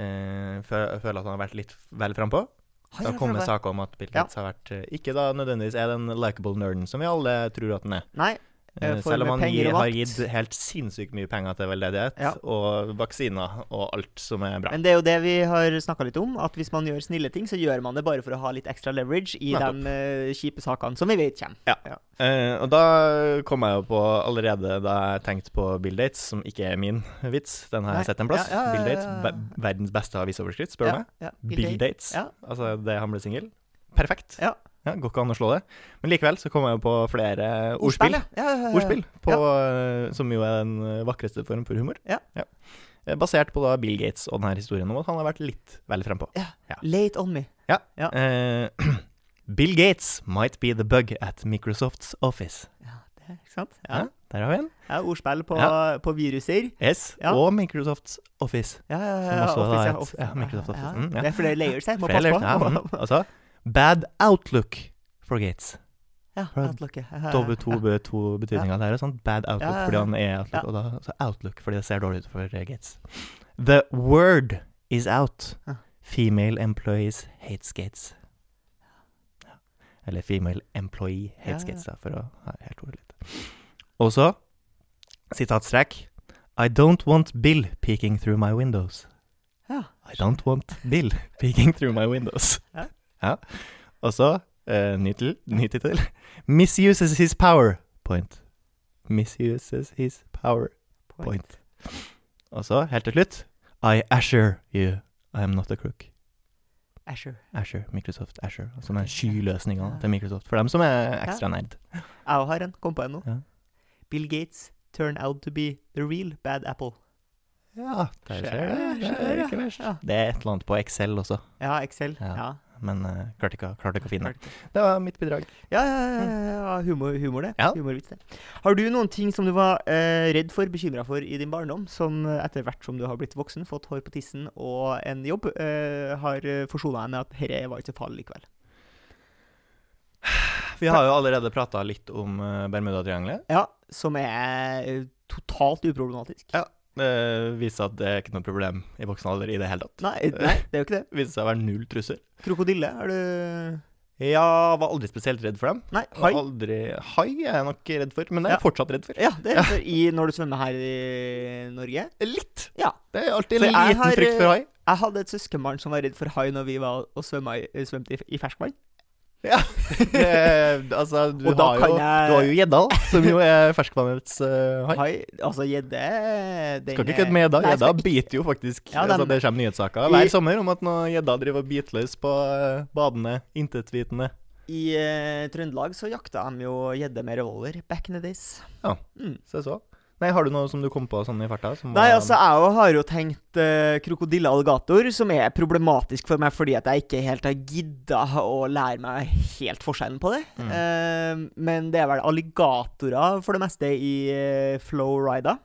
Speaker 1: eh, fø- føler at han har vært litt vel frampå.
Speaker 2: Har
Speaker 1: Det
Speaker 2: jeg
Speaker 1: har kommet
Speaker 2: prøvd?
Speaker 1: saker om at Bill
Speaker 2: Ja.
Speaker 1: Gates har vært eh, Ikke da nødvendigvis er den likable nerden som vi alle tror at den er.
Speaker 2: Nei.
Speaker 1: Eh,
Speaker 2: Eh, for
Speaker 1: Selv om
Speaker 2: med
Speaker 1: han
Speaker 2: penger
Speaker 1: gir,
Speaker 2: og
Speaker 1: har
Speaker 2: makt.
Speaker 1: gitt helt sinnssykt mye penger til veldedighet
Speaker 2: Ja.
Speaker 1: og vaksiner og alt som er bra.
Speaker 2: Men det er jo det vi har snakka litt om, at hvis man gjør snille ting, så gjør man det bare for å ha litt ekstra leverage i
Speaker 1: Nettopp.
Speaker 2: de eh, kjipe sakene som vi vet kommer.
Speaker 1: Eh, og da kom jeg jo på allerede da jeg tenkte på Bill Dates, som ikke er min vits. Den har
Speaker 2: Nei.
Speaker 1: jeg sett en plass.
Speaker 2: Ja, ja, ja,
Speaker 1: Bill Dates,
Speaker 2: ja, ja.
Speaker 1: ver- verdens beste avisoverskritt, spør du meg.
Speaker 2: Ja,
Speaker 1: Bill, Dates.
Speaker 2: Ja.
Speaker 1: Altså det han ble singel. Perfekt.
Speaker 2: Ja.
Speaker 1: Går ikke an å slå det. Men likevel så kom jeg jo på flere
Speaker 2: Ordspill,
Speaker 1: ordspill.
Speaker 2: ja. Ja, ja, ja.
Speaker 1: Ordspill, på, eh, som jo er den eh, vakreste form for humor.
Speaker 2: Ja.
Speaker 1: Eh, Basert på da Bill Gates og denne historien om at han har vært litt vel frempå.
Speaker 2: Late on me. Ja.
Speaker 1: Eh, Bill Gates might be the bug at Microsofts office.
Speaker 2: Det, ikke sant? Ja.
Speaker 1: Ja, der har vi en.
Speaker 2: ja ordspill på, på viruser.
Speaker 1: S
Speaker 2: Ja.
Speaker 1: og Microsofts office.
Speaker 2: Ja, ja, ja.
Speaker 1: Som
Speaker 2: ja,
Speaker 1: også da
Speaker 2: Office,
Speaker 1: er
Speaker 2: ja,
Speaker 1: et-
Speaker 2: Office.
Speaker 1: ja, Microsoft Office. Mm, ja.
Speaker 2: Det er flere layers her. Må
Speaker 1: Flere
Speaker 2: passe
Speaker 1: lurt, ja, mm,
Speaker 2: på.
Speaker 1: altså, bad outlook for Gates.
Speaker 2: Ja,
Speaker 1: Fra
Speaker 2: Outlook, ja.
Speaker 1: Dove to, be- to betydninger der. og Sånn. Bad outlook
Speaker 2: Ja, ja,
Speaker 1: fordi
Speaker 2: ja.
Speaker 1: han er outlook,
Speaker 2: Ja.
Speaker 1: og da så outlook fordi det ser dårlig ut for eh, Gates. The word is out.
Speaker 2: Ja.
Speaker 1: Female employees hates Gates. Ja. Eller female employee hates
Speaker 2: Ja, ja.
Speaker 1: Gates, da, for å ha helt ordet litt. Og så sitatstrekk I don't want Bill peeking through my windows.
Speaker 2: Ja.
Speaker 1: I don't want Bill peeking through my windows.
Speaker 2: Ja.
Speaker 1: Ja. Og så, eh, ny til- ny tittel Misuses his power point. Misuses his power point. Og så, helt til slutt I assure you I am not a crook.
Speaker 2: Azure.
Speaker 1: Assure, Microsoft Assure. Som er skyløsninga til Microsoft. For dem som er ekstra nerd.
Speaker 2: Jeg har en. Kom på en nå.
Speaker 1: Ja.
Speaker 2: Bill Gates turn out to be the real bad apple.
Speaker 1: Ja, der
Speaker 2: Skjer,
Speaker 1: ser du. Det
Speaker 2: skjer,
Speaker 1: er ikke verst.
Speaker 2: ja.
Speaker 1: Det er et eller annet på Excel også,
Speaker 2: Ja, Excel.
Speaker 1: Ja.
Speaker 2: Ja,
Speaker 1: men eh, klarte ikke, å- klarte ikke å finne det.
Speaker 2: klart.
Speaker 1: Det var mitt bidrag.
Speaker 2: ja, ja, ja, ja, ja. Humor, humor det.
Speaker 1: Ja.
Speaker 2: Humorvits, det. Har du noen ting som du var eh, redd for, bekymra for i din barndom, som eh, etter hvert som du har blitt voksen, fått hår på tissen og en jobb, eh, har eh, forsona deg med at dette var ikke så farlig likevel?
Speaker 1: Vi har jo allerede prata litt om eh, Bermudatriangelet.
Speaker 2: Ja, som er eh, totalt uproblematisk.
Speaker 1: Ja. Det viser at det er ikke noe problem i voksen alder i det hele tatt.
Speaker 2: Nei, nei, det er jo ikke det.
Speaker 1: Det viser seg å være null trussel.
Speaker 2: Krokodille, er du
Speaker 1: Ja, var aldri spesielt redd for dem.
Speaker 2: Nei,
Speaker 1: Var
Speaker 2: hai.
Speaker 1: Aldri Hai er jeg nok redd for, men det er jeg fortsatt redd for.
Speaker 2: Ja, det er for i når du svømmer her i Norge.
Speaker 1: Litt.
Speaker 2: Ja.
Speaker 1: Det er alltid
Speaker 2: For
Speaker 1: en
Speaker 2: jeg
Speaker 1: liten
Speaker 2: har,
Speaker 1: frykt for hai.
Speaker 2: Jeg hadde et søskenbarn som var redd for hai når vi var og svømma i, svømte i, i ferskvann.
Speaker 1: Det, er- altså, du
Speaker 2: Og da
Speaker 1: har
Speaker 2: kan
Speaker 1: jo
Speaker 2: jeg-
Speaker 1: Du har jo gjedda, som jo er ferskvannets eh, hai.
Speaker 2: Hai, altså gjedde den
Speaker 1: Skal ikke
Speaker 2: er-
Speaker 1: kødde med gjedda.
Speaker 2: Nei, jeg
Speaker 1: Gjedda
Speaker 2: skal ikke-
Speaker 1: biter jo faktisk
Speaker 2: Ja,
Speaker 1: altså,
Speaker 2: dem-
Speaker 1: Det kommer nyhetssaker
Speaker 2: I-
Speaker 1: hver sommer om at nå gjedda driver og biter løs på eh, badende, intetvitende
Speaker 2: I eh, Trøndelag så jakta de jo gjedde med revolver back in the days.
Speaker 1: Se så. Nei, har du noe som du kom på sånn i farta? som
Speaker 2: Nei,
Speaker 1: var-
Speaker 2: altså, jeg jo har jo tenkt eh, krokodille alligator, som er problematisk for meg fordi at jeg ikke helt har gidda å lære meg helt forskjellen på det.
Speaker 1: Mm.
Speaker 2: Eh, men det er vel alligatorer for det meste i eh, Flowrida.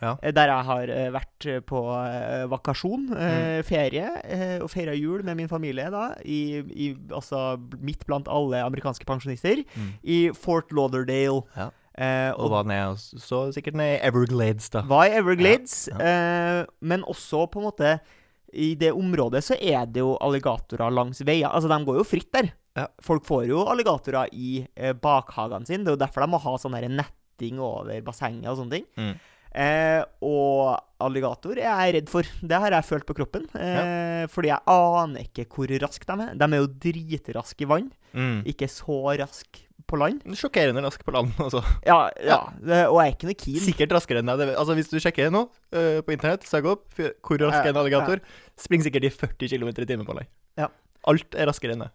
Speaker 1: Ja.
Speaker 2: Eh, Der jeg har eh, vært eh, på eh, vakasjon, eh,
Speaker 1: Mm.
Speaker 2: ferie, eh, og feira jul med min familie, da, i, i, altså midt blant alle amerikanske pensjonister,
Speaker 1: Mm.
Speaker 2: i Fort Lauderdale.
Speaker 1: Ja.
Speaker 2: Eh,
Speaker 1: Og var ned, og så sikkert ned i Everglades, da.
Speaker 2: var i Everglades,
Speaker 1: Ja,
Speaker 2: Eh, men også på en måte I det området så er det jo alligatorer langs veier. Altså, de går jo fritt der.
Speaker 1: Ja.
Speaker 2: Folk får jo alligatorer i eh, bakhagene sine. Det er jo derfor de må ha sånn her netting over bassenget og sånne ting.
Speaker 1: Mm.
Speaker 2: Eh, og alligator er jeg redd for. Det har jeg følt på kroppen. Eh, Fordi jeg aner ikke hvor raske de er. De er jo dritraske i vann,
Speaker 1: Mm.
Speaker 2: ikke så raske på land.
Speaker 1: Sjokkerende rask på land, altså.
Speaker 2: Ja, ja. Eh, Og jeg er ikke noe keen.
Speaker 1: Sikkert raskere enn deg. Det- Altså, hvis du sjekker nå eh, på internett, søk opp f- hvor rask er en
Speaker 2: Ja,
Speaker 1: alligator, springer sikkert i 40 km i timen på deg.
Speaker 2: Ja.
Speaker 1: Alt er raskere enn deg.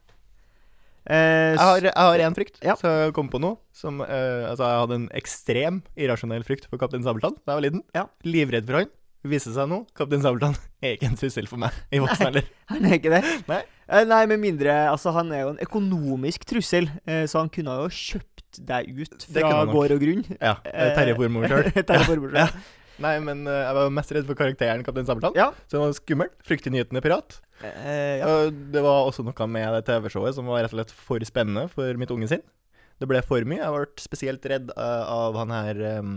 Speaker 2: Eh,
Speaker 1: Jeg har, jeg har én frykt,
Speaker 2: Ja.
Speaker 1: så jeg kom på noe. Som, eh, altså, jeg hadde en ekstrem irrasjonell frykt for Kaptein Sabeltann da jeg var liten.
Speaker 2: Ja.
Speaker 1: Livredd for han. Viste seg nå, Kaptein Sabeltann er ikke en trussel for meg i voksen alder.
Speaker 2: Han er ikke det?
Speaker 1: Nei.
Speaker 2: Eh, Nei, med mindre Altså, han er jo en økonomisk trussel, eh, så han kunne jo kjøpt deg ut
Speaker 1: Det kunne
Speaker 2: fra
Speaker 1: han nok.
Speaker 2: gård og grunn.
Speaker 1: Ja, eh, Terje Formoe sjøl.
Speaker 2: Terje Formoe
Speaker 1: Ja.
Speaker 2: selv.
Speaker 1: Nei, men eh, jeg var mest redd for karakteren Kaptein Sabeltann.
Speaker 2: Ja.
Speaker 1: Så han var skummel. Fryktinngytende pirat.
Speaker 2: Eh, ja.
Speaker 1: Og Det var også noe med det TV-showet som var rett og slett for spennende for mitt unge sinn. Det ble for mye. Jeg ble spesielt redd eh, av han her eh,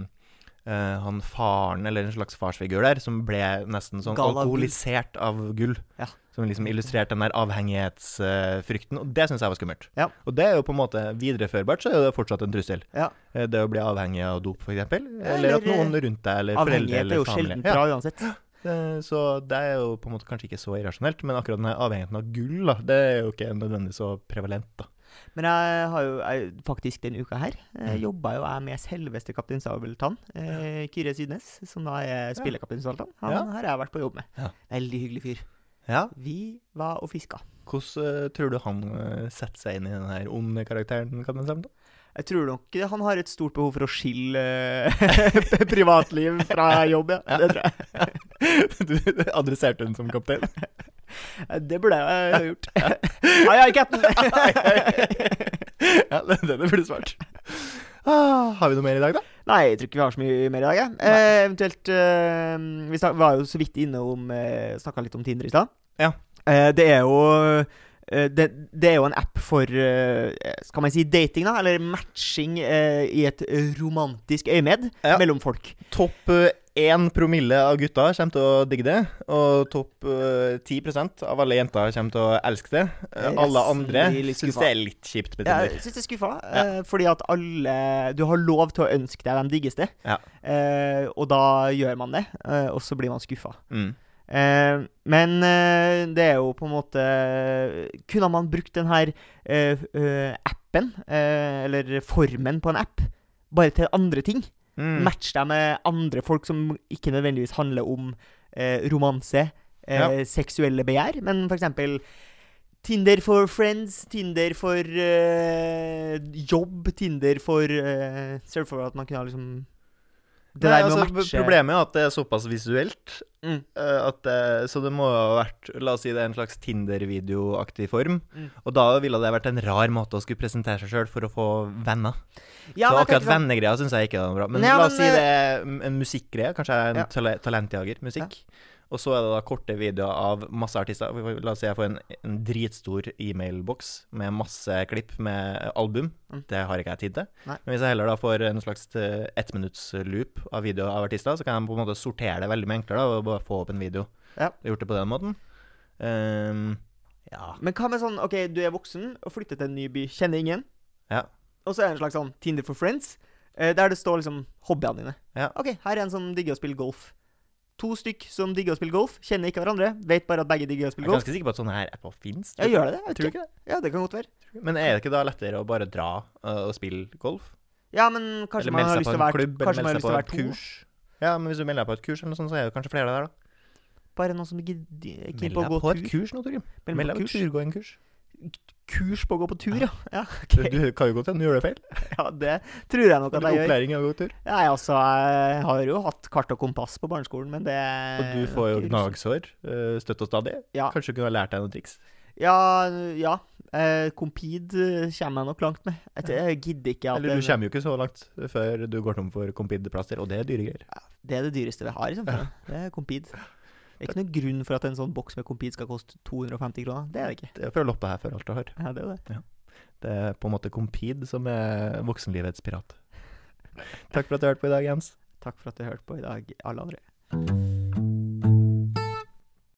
Speaker 1: eh, Han faren, eller en slags farsfigur der, som ble nesten sånn
Speaker 2: Gal av gull.
Speaker 1: alkoholisert av gull.
Speaker 2: Ja.
Speaker 1: Som liksom illustrerte den der avhengighetsfrykten, og det syns jeg var skummelt.
Speaker 2: Ja.
Speaker 1: Og det er jo på en måte videreførbart, så er det fortsatt en trussel.
Speaker 2: Ja.
Speaker 1: Eh, Det å bli avhengig av dop, f.eks., eller,
Speaker 2: Eller,
Speaker 1: eller at noen rundt deg, eller foreldre
Speaker 2: Avhengighet er
Speaker 1: eller
Speaker 2: jo
Speaker 1: familie
Speaker 2: sjelden bra uansett.
Speaker 1: Eh, Så det er jo på en måte kanskje ikke så irrasjonelt, men akkurat denne avhengigheten av gull, da, det er jo ikke nødvendigvis så prevalent, da.
Speaker 2: Men jeg har jo jeg, faktisk den uka her eh,
Speaker 1: Mm.
Speaker 2: jobba jo jeg med selveste kaptein Sabeltann, eh, Kyrre Sydnes, som da er spillekaptein Sabeltann. Han
Speaker 1: Ja.
Speaker 2: har jeg vært på jobb med.
Speaker 1: Ja.
Speaker 2: Veldig hyggelig fyr.
Speaker 1: Ja.
Speaker 2: Vi var og fiska.
Speaker 1: Hvordan eh, tror du han eh, setter seg inn i den her onde karakteren, kan man si? da?
Speaker 2: Jeg tror nok han har et stort behov for å skille eh, privatliv fra jobb, ja. Det tror jeg.
Speaker 1: Du adresserte hun som kaptein.
Speaker 2: Eh, Det burde jeg ha gjort. Ai, ai, cap'n!
Speaker 1: ja, det, det burde du svart. Ah, har vi noe mer i dag, da?
Speaker 2: Nei, jeg tror ikke vi har så mye mer i dag. jeg. Eh, eventuelt eh, Vi snak, var jo så vidt innom eh, Snakka litt om Tinder i stad.
Speaker 1: Ja.
Speaker 2: Eh, det er jo eh, det, det er jo en app for eh, Skal man si dating, da? Eller matching eh, i et romantisk øyemed
Speaker 1: Ja.
Speaker 2: mellom folk.
Speaker 1: Topp én promille av gutta kommer til å digge det, og topp eh, ti prosent av alle jenter kommer til å elske det. Eh,
Speaker 2: Resten
Speaker 1: Alle andre
Speaker 2: blir litt
Speaker 1: syns
Speaker 2: skuffa.
Speaker 1: det er litt kjipt med
Speaker 2: Ja,
Speaker 1: Tinder.
Speaker 2: Jeg syns det er skuffa, eh, fordi at alle Du har lov til å ønske deg de diggeste,
Speaker 1: Ja.
Speaker 2: eh, og da gjør man det, eh, og så blir man skuffa.
Speaker 1: Mm.
Speaker 2: Eh, men eh, det er jo på en måte Kunne man brukt den her eh, eh, appen, eh, eller formen på en app, bare til andre ting?
Speaker 1: Mm.
Speaker 2: Match deg med andre folk som ikke nødvendigvis handler om eh, romanse, eh, seksuelle begjær, men for eksempel Tinder for friends, Tinder for eh, jobb, Tinder for eh, Ser du for deg at man kunne ha liksom Det
Speaker 1: Nei,
Speaker 2: der med
Speaker 1: altså,
Speaker 2: å matche
Speaker 1: Problemet er at det er såpass visuelt.
Speaker 2: Mm.
Speaker 1: eh, At det, så det må jo ha vært La oss si det er en slags Tinder-videoaktig form.
Speaker 2: Mm.
Speaker 1: Og da ville det vært en rar måte å skulle presentere seg sjøl for å få venner.
Speaker 2: Ja, men jeg tenker
Speaker 1: så akkurat
Speaker 2: sånn-
Speaker 1: vennegreia syns jeg ikke er noe bra. Men
Speaker 2: Nei, men,
Speaker 1: la
Speaker 2: eh,
Speaker 1: oss si det er en musikkgreie. Kanskje jeg er en
Speaker 2: Ja.
Speaker 1: tale talentjager. Musikk. Og så er det da korte videoer av masse artister. La oss si jeg får en, en dritstor e-mailboks med masse klipp med album.
Speaker 2: Mm.
Speaker 1: Det har ikke jeg tid til.
Speaker 2: Nei.
Speaker 1: Men hvis jeg heller da får en slags eh, ettminuttsloop av videoer av artister, så kan jeg på en måte sortere det veldig mye enklere da, og bare få opp en video.
Speaker 2: Ja.
Speaker 1: Jeg har gjort det på den måten. Ehm, ja.
Speaker 2: Men hva med sånn OK, du er voksen og flytter til en ny by, kjenner ingen.
Speaker 1: Ja.
Speaker 2: Og så er det en slags sånn Tinder for friends, eh, der det står liksom hobbyene dine.
Speaker 1: Ja.
Speaker 2: OK, her er en som digger å spille golf. To stykk som digger å spille golf, kjenner ikke hverandre, vet bare at begge digger å
Speaker 1: Jeg
Speaker 2: spille
Speaker 1: er
Speaker 2: golf.
Speaker 1: ganske sikker på at sånne her apper fins.
Speaker 2: Ja, gjør det det? Jeg
Speaker 1: Tror du
Speaker 2: ikke.
Speaker 1: ikke det?
Speaker 2: Ja, det kan godt være.
Speaker 1: Men er det ikke da lettere å bare dra eh, og spille golf?
Speaker 2: Ja, men kanskje man har lyst til å være kanskje man har lyst til å være to.
Speaker 1: Ja, men hvis du melder deg på et kurs, eller noe sånt, så er det kanskje flere der, da.
Speaker 2: Bare noen som gidder- er keen
Speaker 1: Meld
Speaker 2: på å
Speaker 1: deg
Speaker 2: gå
Speaker 1: på et
Speaker 2: tur.
Speaker 1: kurs nå, Torgrim.
Speaker 2: Meld deg
Speaker 1: Meld
Speaker 2: på
Speaker 1: deg på
Speaker 2: kurs.
Speaker 1: turgåingkurs.
Speaker 2: Kurs på å gå på tur, ja. Ja,
Speaker 1: Du,
Speaker 2: ok.
Speaker 1: du kan jo godt hende du gjør det feil.
Speaker 2: ja det tror jeg nok
Speaker 1: Litt
Speaker 2: at jeg gjør.
Speaker 1: opplæring er å gå tur.
Speaker 2: Nei, altså, jeg har jo hatt kart og kompass på barneskolen, men det
Speaker 1: Og du får jo gnagsår eh, støtt og stadig.
Speaker 2: Eh, Ja.
Speaker 1: Kanskje du kunne ha lært deg noen triks.
Speaker 2: Ja, ja. Eh, Compede eh, kommer jeg nok langt med. Jeg tror- Jeg gidder ikke at
Speaker 1: Eller
Speaker 2: den-
Speaker 1: du kommer jo ikke så langt før du går tom for Compid-plaster, og det er dyre greier.
Speaker 2: Det er det dyreste vi har i samfunnet. Det er Compede. Det er ikke noen grunn for at en sånn boks med Compede skal koste 250 kroner. Det er det ikke.
Speaker 1: Det er fra loppa her før alt du har.
Speaker 2: Ja, det er jo det.
Speaker 1: Det er på en måte Compid som er voksenlivets pirat. Takk for at du hørte på i dag, Jens.
Speaker 2: Takk for at du hørte på i dag, alle andre.